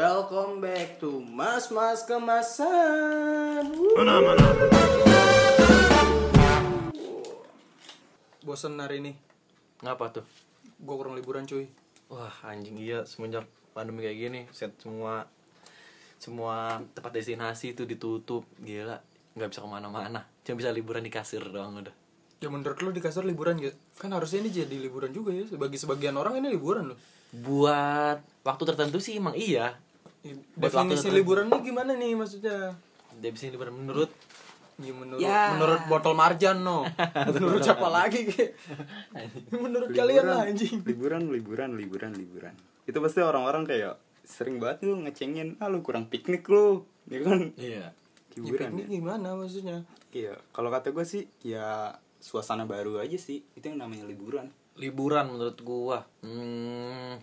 Welcome back to Mas Mas Kemasan. Wuh. Bosen hari ini. Ngapa tuh? Gue kurang liburan cuy. Wah anjing iya semenjak pandemi kayak gini set semua semua tempat destinasi itu ditutup gila nggak bisa kemana-mana cuma bisa liburan di kasir doang udah Ya menurut lu di kasar liburan ya? Kan harusnya ini jadi liburan juga ya. Bagi sebagian orang ini liburan loh. buat waktu tertentu sih emang iya Ya, Buat waktu Definisi tertentu. liburan lu gimana nih maksudnya? dia bisa liburan menurut Ya, menurut Ya. menurut botol marjan no. menurut siapa lagi kek? menurut kalian lah anjing. liburan liburan liburan liburan itu pasti orang-orang kayak sering banget lu ngecengin ah lu kurang piknik lu ya kan iya Ya, liburan piknik ya gimana maksudnya? iya kalau kata gue sih ya suasana baru aja sih itu yang namanya liburan liburan menurut gua hmm,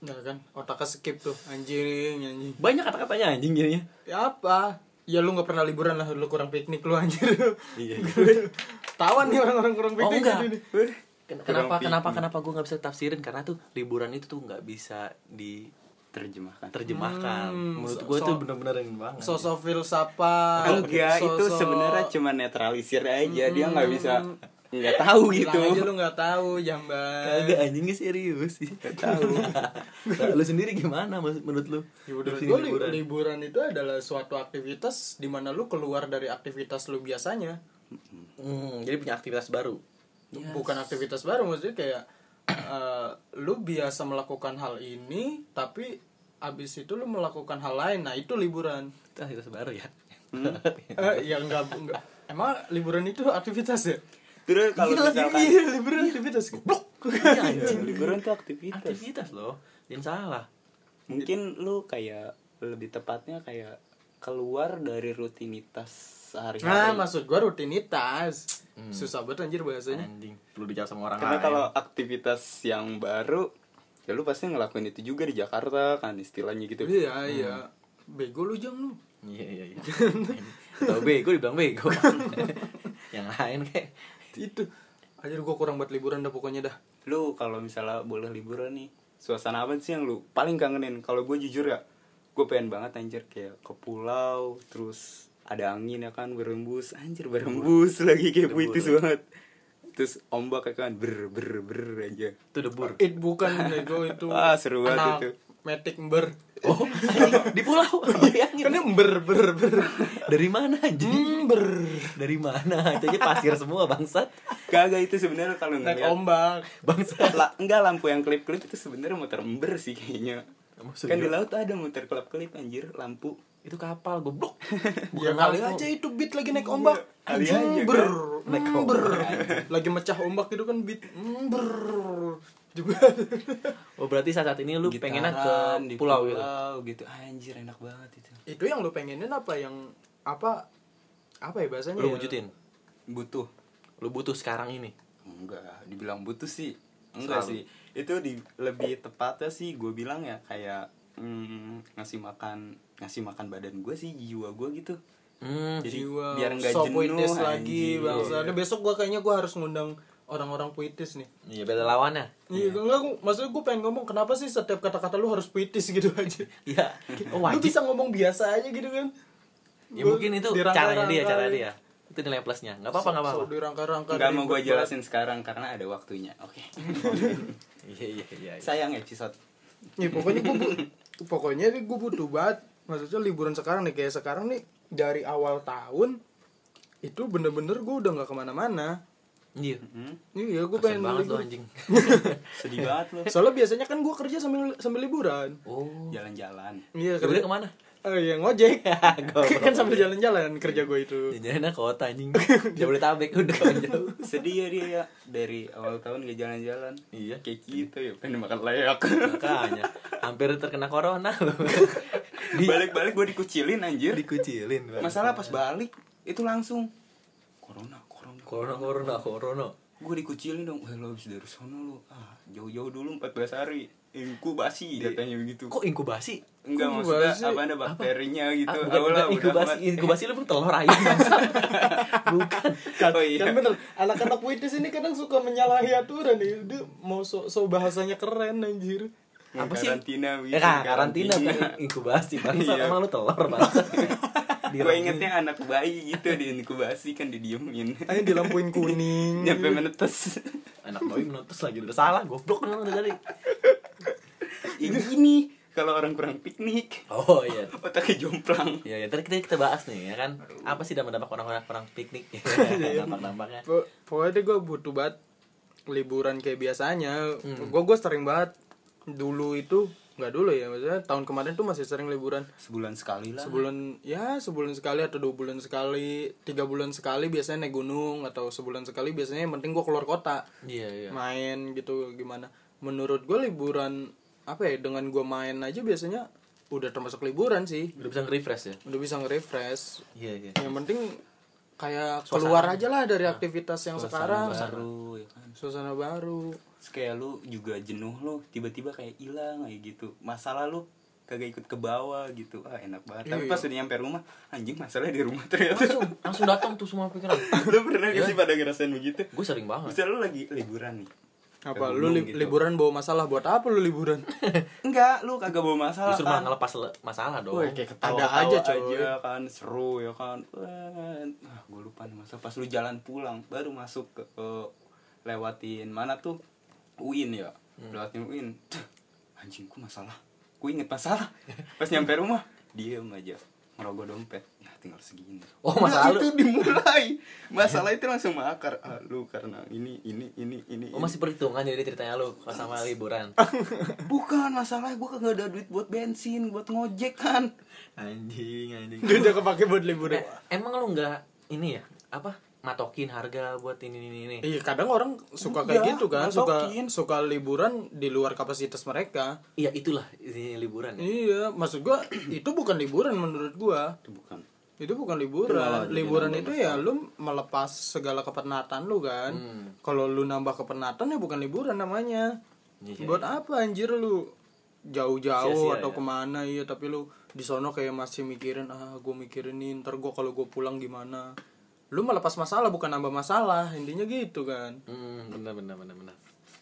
Nah kan otaknya skip tuh anjing anjing. banyak kata-katanya anjing jadinya Ya apa? Ya lu nggak pernah liburan lah, lu kurang piknik lu anjir. Iya. Tawan nih orang-orang kurang Oh, piknik enggak. ini. Ken- Kurang kenapa piknik. kenapa kenapa gua nggak bisa tafsirin karena tuh liburan itu tuh nggak bisa terjemahkan diterjemahkan Hmm, menurut so- gua tuh so- bener-bener ini banget Sosok filsafat. enggak Oh, iya, itu sosok- sebenarnya cuma netralisir aja dia nggak bisa Hmm. nggak tahu Bilang gitu aja lu nggak tahu jamban. Kagak anjingnya serius sih. tahu. lu sendiri gimana mas- menurut lu? Ya udah, Lu sini gua li- liburan. liburan. itu adalah suatu aktivitas di mana lu keluar dari aktivitas lu biasanya. Hmm, jadi punya aktivitas baru. Bukan aktivitas baru maksudnya kayak eh, lu biasa melakukan hal ini tapi abis itu lu melakukan hal lain. Nah, itu liburan. Itu Aktivitas baru ya. Iya Eh, kan? ya enggak, enggak. Emang liburan itu aktivitas ya? terus kalau Iya, misalkan iya, liburan aktivitas. Goblok. Iya, anjing. liburan tuh aktivitas aktivitas loh. Yang salah. mungkin lu kayak lebih tepatnya kayak keluar dari rutinitas sehari-hari Nah, maksud gua rutinitas. Susah banget anjir bahasanya. Anjing. Perlu dijawab sama orang Karena lain. kalau aktivitas yang baru ya lu pasti ngelakuin itu juga di Jakarta kan istilahnya gitu. Iya, iya. Bego lu jam lu. Iya iya iya. Tahu bego dibilang bego. Yang lain kayak Itu. Anjir gua kurang buat liburan dah pokoknya dah. Lu kalau misalnya boleh liburan nih, suasana apa sih yang lu paling kangenin? Kalau gue jujur ya, gue pengen banget anjir kayak ke pulau terus ada angin ya kan berembus anjir berembus lagi kayak Berembus. puitis banget terus ombak ya kan ber ber ber aja itu debur. It bukan bego itu. Wah, seru banget anak itu. Metik ember. Oh, anjing, di pulau. Bayangin. Kan dia ember, ber, ber. Dari mana anjing? Ember. Dari mana? Itu aja pasir semua bangsat. kagak itu sebenarnya kalau Naik ngeliat ombak. Bangsat. La- enggak lampu yang klip-klip itu sebenarnya muter ember sih kayaknya. Maksudnya? Kan di laut ada muter klip-klip anjir lampu. Itu kapal goblok. Ya kali aja itu beat lagi naik ombak. kali aja, kan? Ber. Naik Ber. Lagi mecah ombak itu kan beat. Ber. Juga. Oh berarti saat, saat ini lu pengennya ke Gitaran di pulau gitu. gitu. Anjir enak banget itu. itu yang lu pengenin apa yang apa apa ya bahasanya? ya? Lu wujudin. Butuh. Lu butuh sekarang ini. Enggak, dibilang butuh sih. Enggak Selalu. sih. Itu di lebih tepatnya sih gue bilang ya kayak mm, ngasih makan ngasih makan badan gue sih jiwa gue gitu. Hmm. Jadi Jiwa biar nggak so jenuh Iya. puitis lagi anjir. bangsa. Nah, besok gua kayaknya gua harus ngundang orang-orang puitis nih. Iya beda lawannya. Iya, enggak, gua- maksudnya gue pengen ngomong kenapa sih setiap kata-kata lu harus puitis gitu aja. Iya. Oh Lu wajib. bisa ngomong biasa aja gitu kan. Ya mungkin itu Dirangkai- caranya dia, rangkai. cara dia. Itu nilai plusnya. Enggak apa-apa, enggak So, apa-apa. dirangka-rangka. Enggak mau gue ribet jelasin sekarang karena ada waktunya. Oke. Iya iya iya. iya. Sayang episode. banget. Ya, pokoknya gue pokoknya gue butuh banget maksudnya liburan sekarang nih kayak sekarang nih dari awal tahun itu bener-bener gue udah nggak kemana-mana. Iya. Hmm? Iya, gue Kasian pengen banget lu libur. anjing. Sedih banget lu. Soalnya biasanya kan gue kerja sambil sambil liburan. Oh. Jalan-jalan. Iya, Kerja kerja. kemana? Eh, ya ngojek. Goblok. kan sambil jalan-jalan kerja gue itu. Jalannya kota anjing. Jabodetabek udah jauh. sedih ya dia ya dari awal tahun gak jalan-jalan Iya. kayak gitu ya pengen makan layak Makanya hampir terkena corona lu. Di balik-balik gue dikucilin anjir Iya. dikucilin. Bang. masalah pas balik itu langsung corona corona corona corona corona. gue dikucilin dong eh lo habis dari sono lo ah jauh-jauh dulu 14 hari inkubasi katanya begitu Kok inkubasi? enggak kok maksudnya inkubasi? apa ada bakterinya gitu Ah, bukan, Awalnya bukan inkubasi, amat. inkubasi lu telur ayam bangsa. bukan. oh iya Kan bener, anak-anak puitis ini kadang suka menyalahi aturan nih. Dia mau so, so bahasanya keren anjir. Apa sih? Karantina gitu, Ya, kan, karantina karantina. bukan inkubasi bangsa. Iya. Emang lu telur bangsa. gue ingetnya anak bayi gitu di inkubasi kan didiemin Hanya dilampuin kuning. nyampe menetes anak bayi menetes lagi udah salah goblok kan udah dari. ya gini kalau orang kurang piknik Oh iya. otaknya jomplang Ya, ya, tadi kita, kita bahas nih ya kan apa sih dampak-dampak orang-orang orang piknik dampak-dampaknya Po- pokoknya gue butuh banget liburan kayak biasanya Hmm. gue gue sering banget dulu itu nggak dulu ya maksudnya tahun kemarin tuh masih sering liburan sebulan sekali lah sebulan ya sebulan sekali atau dua bulan sekali tiga bulan sekali biasanya naik gunung atau sebulan sekali biasanya yang penting gue keluar kota iya iya main gitu gimana menurut gue liburan apa ya dengan gue main aja biasanya udah termasuk liburan sih udah bisa nge-refresh ya udah bisa nge-refresh iya iya yang penting kayak keluar aja lah dari aktivitas yang sekarang Iya. baru ya kan suasana baru Terus kayak lu juga jenuh lu tiba-tiba kayak hilang kayak gitu masalah lu kagak ikut ke bawah gitu ah enak banget tapi Iya, pas iya. udah nyampe rumah anjing masalahnya di rumah ternyata langsung langsung datang tuh semua pikiran lu pernah gak Iya. sih pada ngerasain begitu gue sering banget bisa lu lagi liburan nih apa Ke lu gunung li- gitu. liburan bawa masalah buat apa lu liburan enggak lu kagak bawa masalah justru malah kan ngelepas le- masalah dong Woi, kayak ketawa Ada ada aja, aja, coy. kan seru ya kan Wah, ah gue lupa nih masa pas lu jalan pulang baru masuk ke, ke- lewatin mana tuh UIN ya lewatin UIN Tuh, anjingku masalah ku inget masalah pas nyampe rumah diem aja ngerogoh dompet ya tinggal segini Oh, Udah, masalah lu- itu dimulai masalah itu langsung mengakar ah, lu karena ini ini ini ini, Oh ini. masih perhitungan jadi ceritanya lu kalau sama liburan. bukan masalah gue kagak ada duit buat bensin buat ngojek kan anjing, anjing. dia udah kepake buat liburan Eh, emang lu nggak ini ya? Apa matokin harga buat ini ini ini? iya kadang orang suka kayak Enggak, gitu kan matokin. suka suka liburan di luar kapasitas mereka Iya, itulah ini liburan ya. iya maksud gua itu bukan liburan menurut gua itu bukan itu bukan Itu malah liburan jadi liburan nambah itu ya lu melepas segala kepenatan lu kan Hmm. kalau lu nambah kepenatan ya bukan liburan namanya Iya, buat apa anjir lu jauh-jauh Sia-sia, atau ya. kemana iya tapi lu di sono kayak masih mikirin ah gue mikirin nih ntar gue kalau gue pulang gimana lu melepas masalah bukan nambah masalah intinya gitu kan Hmm, benar benar benar benar.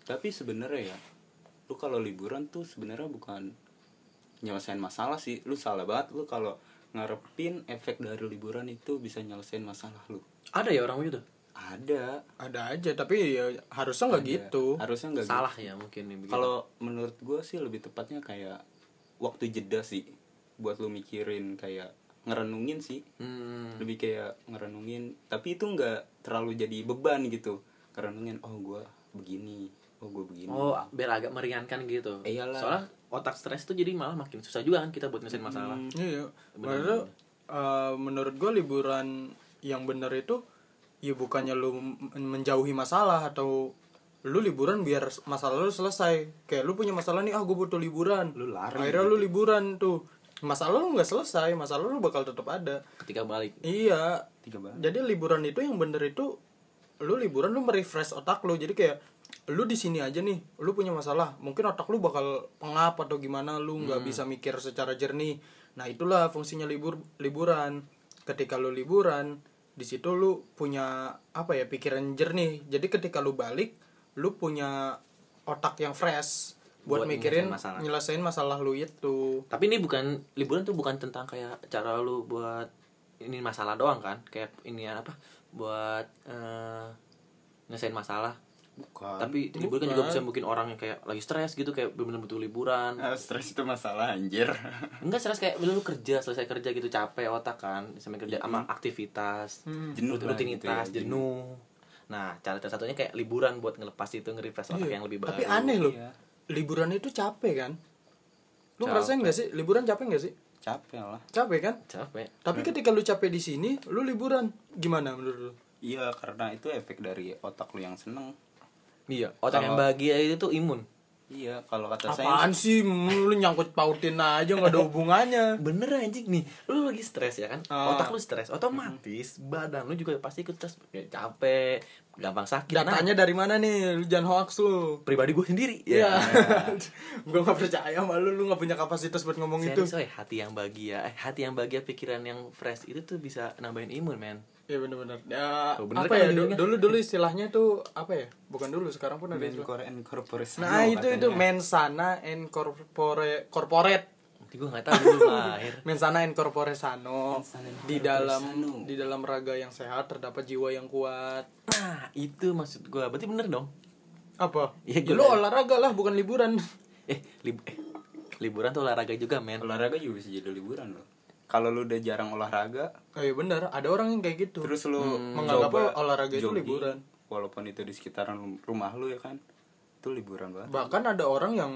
tapi sebenarnya ya lu kalau liburan tuh sebenarnya bukan nyelesain masalah sih lu salah banget lu kalau ngarepin efek dari liburan itu bisa nyelesain masalah lu Ada ya orang gitu? ada ada aja tapi ya harusnya nggak gitu harusnya nggak gitu Salah ya mungkin nih begitu. kalau menurut gue sih lebih tepatnya kayak waktu jeda sih buat lu mikirin kayak ngerenungin sih hmm, lebih kayak ngerenungin tapi itu nggak terlalu jadi beban gitu ngerenungin oh gue begini oh gue begini Oh, biar agak meringankan gitu. Eh, iyalah. Soalnya otak stres tuh jadi malah makin susah juga kan kita buat nyelesain masalah. Iya, iya. Maksudnya, eh, menurut gue liburan yang bener itu ya bukannya lu men- menjauhi masalah atau lu liburan biar masalah lu selesai. Kayak lu punya masalah nih, ah gue butuh liburan. Lu larang Akhirnya lu liburan tuh. Masalah lu nggak selesai, masalah lu bakal tetap ada. Ketika balik. Iya. tiga banget Jadi liburan itu yang bener itu lu liburan lu merefresh otak lu. Jadi kayak lu di sini aja nih, lu punya masalah, mungkin otak lu bakal pengap atau gimana, lu nggak bisa mikir secara jernih. Nah, itulah fungsinya libur liburan. Ketika lu liburan, di situ lu punya apa ya, pikiran jernih. Jadi ketika lu balik, lu punya otak yang fresh buat, Buat mikirin nyelesain masalah. nyelesain masalah lu itu. Tapi ini bukan liburan tuh bukan tentang kayak cara lu buat ini masalah doang kan? Kayak ini apa? Buat eh nyelesain masalah. bukan Tapi liburan kan juga bisa mungkin orang yang kayak lagi stres gitu kayak bener-bener butuh liburan. Ah, stres itu masalah anjir. Enggak stres kayak bener lu kerja, selesai kerja gitu capek otak kan, sampai kerja sama aktivitas, Jenuh rut- lah rutinitas, gitu ya, jenuh. Nah, cara salah satunya kayak liburan buat ngelepas itu, nge-refresh otak yang lebih baru. Iya, Tapi aneh loh. Iya. Liburan itu capek kan? Lu Capek. ngerasain gak sih liburan capek gak sih? Capek lah. Capek kan? Capek. Tapi ketika lu capek di sini, lu liburan. Gimana menurut lu? Iya, karena itu efek dari otak lu yang seneng. Iya, otak yang bahagia itu tuh imun. Iya, kalau kata saya Apaan sih Mm, lu nyangkut pautin aja nggak ada hubungannya. bener anjing nih lu lagi stres ya kan Ah. otak lu stres otomatis badan lu juga pasti ikut stres Ya, capek gampang sakit Datanya dari mana nih? Lu jangan hoax lu. Nah, pribadi gue sendiri Iya. gua nggak percaya sama lu, lu nggak punya kapasitas buat ngomong itu. Serius, woy, hati yang bahagia eh, hati yang bahagia pikiran yang fresh itu tuh bisa nambahin imun men Iya benar-benar. Ya, Oh, bener apa ya kan jadinya? dulu dulu istilahnya tuh apa ya? Bukan dulu, sekarang pun ada Ben istilah. Core and Corporation. Nah, itu itu mensana and corpore corporate. nanti gue nggak tahu belum lahir Mensana and corpore sano. Mensana and Di corpore dalam sano. di dalam raga yang sehat terdapat jiwa yang kuat. nah itu maksud gue berarti bener dong Apa? Iya, Ya, gua- lu olahraga lah, bukan liburan. eh, lib- eh, liburan tuh olahraga juga men olahraga juga bisa jadi liburan loh. Kalau lu udah jarang olahraga, Oh iya benar, ada orang yang kayak gitu. terus lu menganggap coba olahraga itu jogging, liburan. Walaupun itu di sekitaran rumah lu ya kan. Itu liburan banget. Bahkan ada orang yang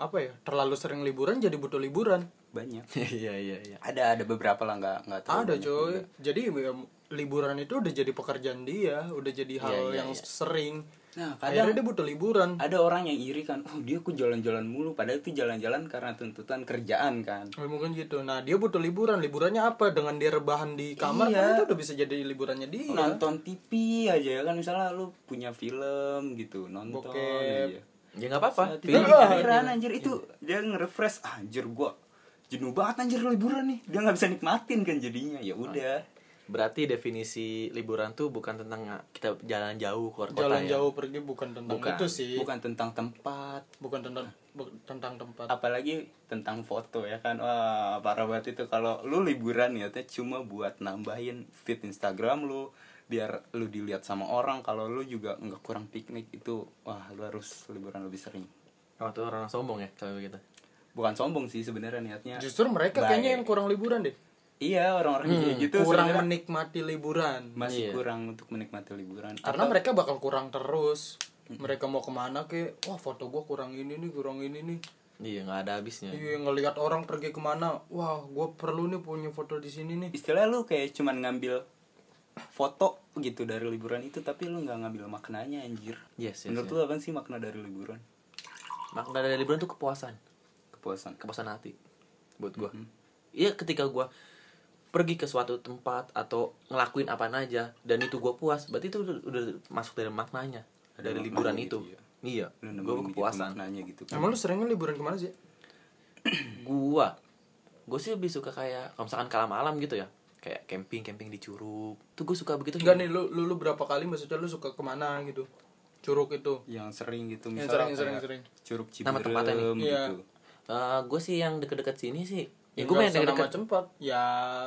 apa ya, terlalu sering liburan jadi butuh liburan. Banyak. iya iya iya Ada ada beberapa lah nggak nggak tahu. Ada iya. coy. Jadi ya, liburan itu udah jadi pekerjaan dia, udah jadi hal yang sering. Iya, Nah, kadang Akhirnya dia butuh liburan. ada orang yang iri kan, oh dia kok jalan-jalan mulu, padahal itu jalan-jalan karena tuntutan kerjaan kan. Oh, mungkin gitu. Nah, dia butuh liburan. Liburannya apa? Dengan dia rebahan di kamar kan itu udah bisa jadi liburannya dia. Nonton TV aja ya kan misalnya lu punya film gitu, nonton Iya, aja. ya nggak apa-apa Nah, Pilih. tiba-tiba liburan anjir itu dia nge-refresh "Ah, anjir gua jenuh banget anjir liburan nih dia nggak bisa nikmatin kan jadinya ya udah berarti definisi liburan tuh bukan tentang nga- kita jalan jauh keluar kota Jalan ya? jauh pergi bukan tentang bukan itu sih. Bukan, bukan tentang tempat tentang bu- tentang tempat. apalagi tentang foto ya kan wah parah banget itu kalau lu liburan ya teh cuma buat nambahin feed Instagram lu biar lu dilihat sama orang kalau lu juga nggak kurang piknik itu wah lu harus liburan lebih sering Oh, tuh orang sombong ya kalau gitu. bukan sombong sih sebenarnya niatnya Justru mereka kayaknya yang kurang liburan deh. iya orang-orang kayak gitu kurang sebenarnya menikmati liburan. masih Hmm. Iya. kurang untuk menikmati liburan Karena mereka bakal kurang terus. Mereka mau kemana ke? Wah foto gua kurang ini nih, kurang ini nih. Iya, nggak ada habisnya. Iya ngelihat orang pergi kemana. Wah gua perlu nih punya foto di sini nih. istilah lu kayak cuman ngambil foto gitu dari liburan itu tapi lu nggak ngambil maknanya anjir Yes, yes, menurut yes. lu apa sih makna dari liburan Makna dari Nah, liburan tuh kepuasan, kepuasan kepuasan hati buat gua. Iya, ketika gua pergi ke suatu tempat atau ngelakuin apa aja dan itu gua puas, berarti itu udah, udah masuk dari maknanya dari Ada maknanya liburan gitu, itu. iya. Iya, lu gua nemuin kepuasan. gitu maknanya gitu kan Emang lu seringnya liburan kemana sih? gua gua sih lebih suka kayak kalau misalkan kalam malam gitu ya kayak camping camping di curug tuh gua suka begitu Enggak nih lu, lu lu berapa kali maksudnya lu suka kemana gitu? Curug itu. yang sering gitu Yang misalnya sering, sering, kayak sering. curug Nama tempatnya nih. ciberem Iya. gitu Eh, gua sih yang deket-deket sini sih ya Enggak gua main usah nama deket-deket tempat. Ya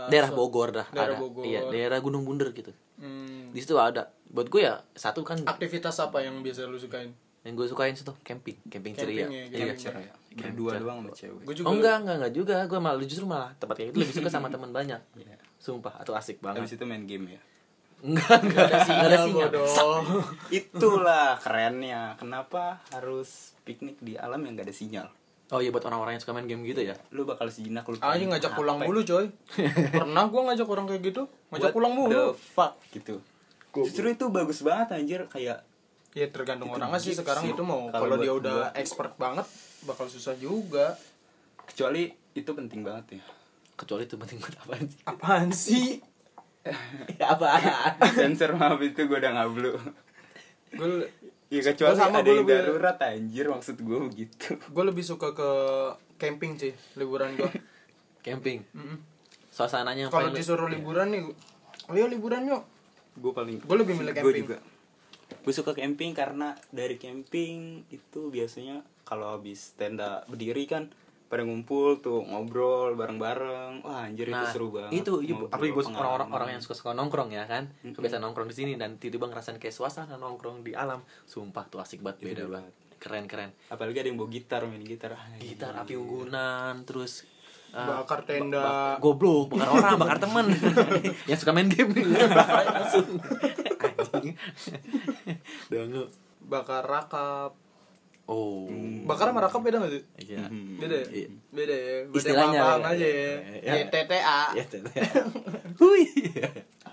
daerah so- Bogor dah Daerah ada Bogor. iya daerah Gunung Bunder gitu Hmm, di situ ada buat gue ya satu kan aktivitas apa yang biasa lu sukain? yang gue sukain situ camping camping, ceria Camping ya, Iya. camping. Pacar ya. berdua doang sama cewek Gue oh juga enggak enggak enggak juga gue malah justru malah tempat kayak gitu lebih suka sama teman banyak Iya. sumpah atau asik habis banget itu main game ya enggak enggak ada sinyal, Enggak ada bodoh. itulah kerennya kenapa harus piknik di alam yang gak ada sinyal oh iya buat orang-orang yang suka main game gitu ya lu bakal sejenak lu Ayo Ah, ngajak ya? pulang mulu coy. Pernah gua ngajak orang kayak gitu, ngajak pulang the mulu. fuck gitu justru itu bagus banget anjir kayak Ya tergantung orangnya sih sekarang itu mau. Kalau Kalau dia buat udah expert banget bakal susah juga. kecuali itu penting banget ya kecuali itu penting buat apa sih Apaan sih? ya apaan sensor maaf itu gue udah ngablu Gue ya kecuali Gua sama, ada gua yang lebih- darurat anjir maksud gue begitu gue lebih suka ke camping sih liburan gue. camping suasananya yang Hmm. Kalau paling- disuruh liburan nih, ayo liburan yuk. gue paling Gua lebih milih Gua camping. juga gue suka camping karena dari camping itu biasanya kalau habis tenda berdiri kan pada ngumpul tuh ngobrol bareng-bareng wah anjir itu Nah, seru banget itu iya, Bu. Ngobrol, apalagi buat pengalaman. orang-orang orang yang suka suka nongkrong ya kan kebiasaan nongkrong di sini dan tiba-tiba ngerasain kayak suasana nongkrong di alam sumpah tuh asik banget beda banget keren keren apalagi ada yang bawa gitar main gitar Ah, gitar api unggunan terus uh, Bakar tenda. goblok bakar orang bakar temen yang suka main game bakar aja langsung Anjing. Dongo. bakar rakap. oh Bakar sama rakap beda gak sih? iya Beda ya? Iya. Beda ya? Beda Istilahnya paham lah ya. aja ya. Ya, ya. YTTA. Ya, teteh. Hui.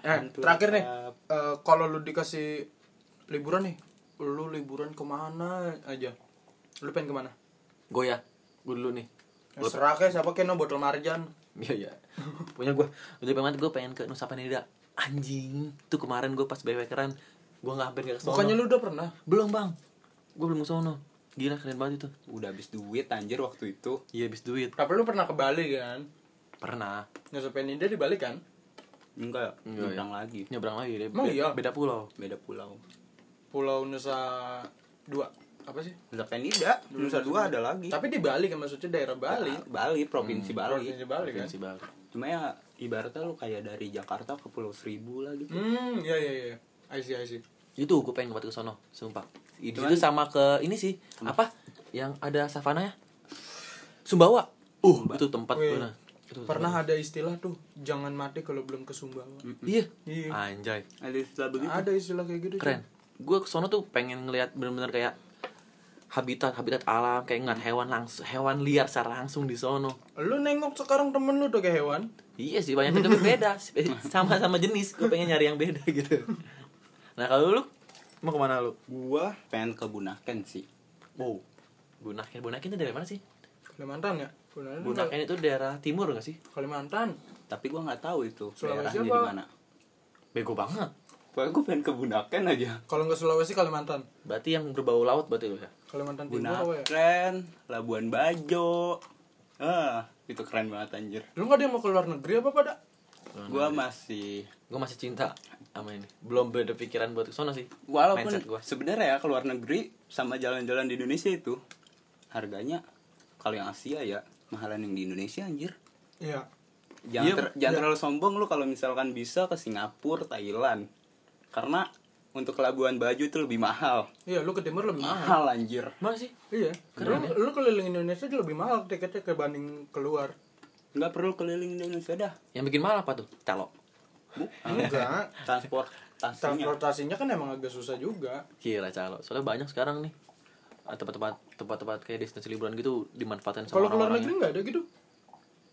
Eh, terakhir nih, eh, kalau lu dikasih liburan nih, lu liburan kemana aja? Lu pengen kemana? Gue ya, gue dulu nih. Ya, serah kayak siapa kayak no botol marjan. Iya iya. Punya gue. Udah pengen gue pengen ke Nusa Penida. Anjing. Tuh kemarin gue pas bebekeran gue nggak hampir nggak ke sono. Bukannya lu udah pernah? Belum bang. Gue belum ke sono. Gila keren banget itu. Udah habis duit anjir waktu itu. Iya habis duit. Tapi lu pernah ke Bali kan? Pernah. Nusa Penida di Bali kan? Enggak, Enggak, nyebrang lagi. Nyebrang lagi deh. Emang Be- iya? Beda pulau. Beda pulau. Pulau Nusa dua apa sih? Nusa Penida, Nusa Dua ada lagi. Tapi di Bali kan maksudnya daerah Bali. Bali, provinsi Bali. Provinsi Bali kan? Provinsi Bali. Cuma ya ibaratnya lu kayak dari Jakarta ke Pulau Seribu lah gitu. Hmm, iya iya iya. I see, I see. Itu gue pengen banget ke sono, sumpah. Itu, kan- itu sama ke ini sih, apa? Yang ada savana ya? Sumbawa. Oh, Uh, itu tempat Wih. gue nah. Itu tempat. Pernah ada istilah tuh, jangan mati kalau belum ke Sumbawa. Iya. Iya. Anjay. Ada istilah begitu. Ada istilah kayak gitu. Keren. Gue ke sono tuh pengen ngelihat bener-bener kayak habitat habitat alam kayak ngeliat hewan langsung hewan liar secara langsung di sono. cuy. Lu nengok sekarang temen lu tuh kayak hewan. Iya sih banyak tapi beda Eh, sama-sama jenis gue pengen nyari yang beda gitu. Nah kalau lu mau kemana lu? Gua pengen ke Bunaken sih. Wow. Bunaken Bunaken itu daerah mana sih? Kalimantan ya? Kalimantan. Bunaken itu daerah timur gak sih? Kalimantan. Tapi gua nggak tahu itu Sulawesi daerahnya di apa? mana. Bego banget. Pokoknya gua pengen ke Bunaken aja. Kalau nggak Sulawesi Kalimantan. Berarti yang berbau laut berarti lu ya? Kalimantan Timur apa ya? Bunaken, Labuan Bajo. Ah, itu keren banget anjir. Lu nggak ada yang mau ke luar negeri apa pada? Gua masih Gue masih cinta sama ini. Belum beda pikiran buat ke sono sih. walaupun Mindset gua. sebenarnya ya ke luar negeri sama jalan-jalan di Indonesia itu harganya kalau yang Asia ya mahalan yang di Indonesia anjir. Iya. Jangan, Iya, ter- jangan terlalu sombong lu kalau misalkan bisa ke Singapura, Thailand. Karena untuk Labuan Bajo itu lebih mahal. Iya, lu ke timur lebih mahal. Mahal anjir. Mana sih? Iya. Karena lu, lu keliling Indonesia itu lebih mahal tiketnya kebanding keluar. Nggak perlu keliling Indonesia dah. Yang bikin mahal apa tuh? Calo. Ah. Enggak. Transportasinya. Transportasinya kan emang agak susah juga. Kira calo. Soalnya banyak sekarang nih ah, tempat-tempat tempat-tempat kayak destinasi liburan gitu dimanfaatkan Kalau sama keluar negeri orang-orang. nggak ada gitu.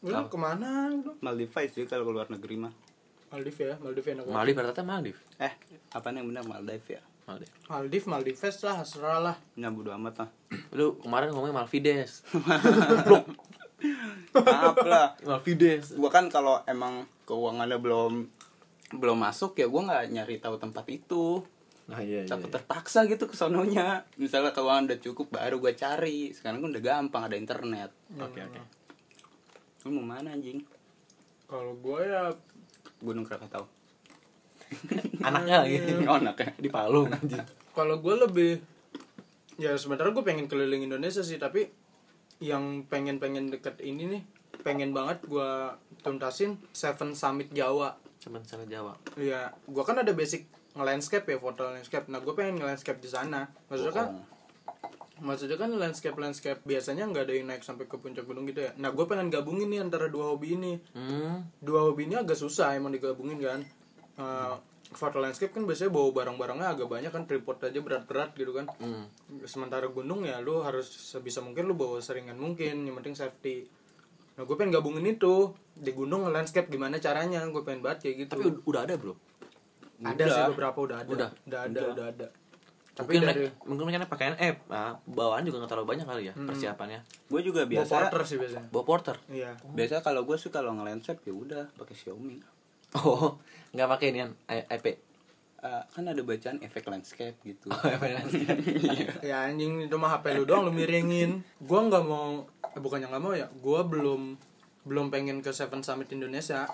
Lu kemana gitu? Maldives sih kalau ke luar negeri mah. Maldives ya, Maldives enak banget. Maldives ternyata Maldives. Eh, apa yang benar Maldives ya? Maldives. Maldives, Maldives lah, serah lah. Nyambut amat lah. Lu kemarin ngomongin Malvides. Maaf lah. Malvides. Gua kan kalau emang keuangannya belum belum masuk ya gua nggak nyari tahu tempat itu. Nah iya Takut terpaksa gitu ke sononya. Misalnya keuangan udah cukup baru gua cari. Sekarang kan udah gampang ada internet. Oke oke. Lu mau mana anjing? Kalau gua ya Gunung Krakatau. Anaknya lagi Ngonak ya. di Palung anjing. kalau gua lebih ya sebenarnya gua pengen keliling Indonesia sih, tapi yang pengen-pengen deket ini nih, pengen banget gua tuntasin Seven Summit Jawa. Cuman sama Jawa. Iya, gua kan ada basic nge-landscape ya, foto landscape. Nah, gua pengen nge-landscape di sana. Maksudnya kan maksudnya kan landscape landscape biasanya nggak ada yang naik sampai ke puncak gunung gitu ya nah gue pengen gabungin nih antara dua hobi ini Hmm. dua hobi ini agak susah emang digabungin kan Eh foto landscape kan biasanya bawa barang-barangnya agak banyak kan tripod aja berat-berat gitu kan Hmm. sementara gunung ya lu harus sebisa mungkin lu bawa seringan mungkin yang penting safety nah gue pengen gabungin itu di gunung landscape gimana caranya gue pengen banget kayak gitu Tapi ud- udah ada bro. ada sih beberapa udah ada Udah. ada udah ada tapi mungkin dari mereka- mungkin mereka pakaian app nah, bawaan juga nggak terlalu banyak kali Hmm. ya persiapannya Gue juga bawa biasa. porter sih biasanya bawa porter iya Biasa kalau gue suka kalau ngelandscape ya udah pakai Xiaomi. oh nggak pakai ini kan I- IP Eh, kan ada bacaan efek landscape gitu. Oh, Ya anjing itu mah HP lu doang lu miringin. Gua nggak mau eh, bukannya nggak mau ya, gua belum belum pengen ke Seven Summit Indonesia,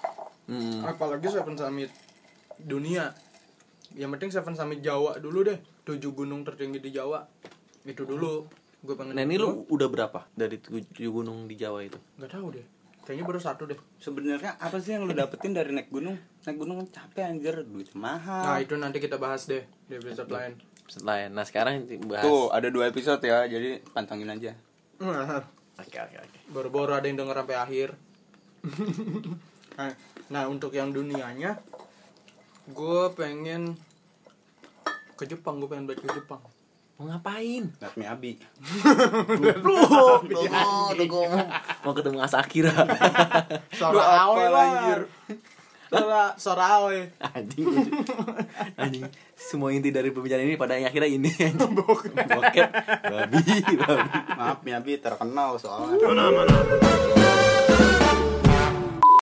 hmm. apalagi Seven Summit dunia. Yang penting Seven Summit Jawa dulu deh, tujuh gunung tertinggi di Jawa. Itu dulu gue pengen. nah ini lu udah berapa dari tujuh gunung di Jawa itu nggak tahu deh. Kayaknya baru satu deh. Sebenarnya apa sih yang lu dapetin dari naik gunung? Naik gunung kan capek anjir, duit Nah, mahal. itu nanti kita bahas deh di episode lain. selain nah sekarang nanti bahas Tuh, ada dua episode ya, jadi pantangin aja. oke oke oke Baru-baru ada yang denger sampai akhir. Nah, nah, untuk yang dunianya gue pengen ke Jepang, gue pengen balik ke Jepang. mau ngapain Lihat Mi Abi. Oh, mau ketemu Asakira Soal apa awe lah, anjir? Sora Sora Aoi. anjing anjing semua inti dari pembicaraan ini pada akhirnya ini anjing bokep babi babi Maaf ya, Bi, terkenal soalnya.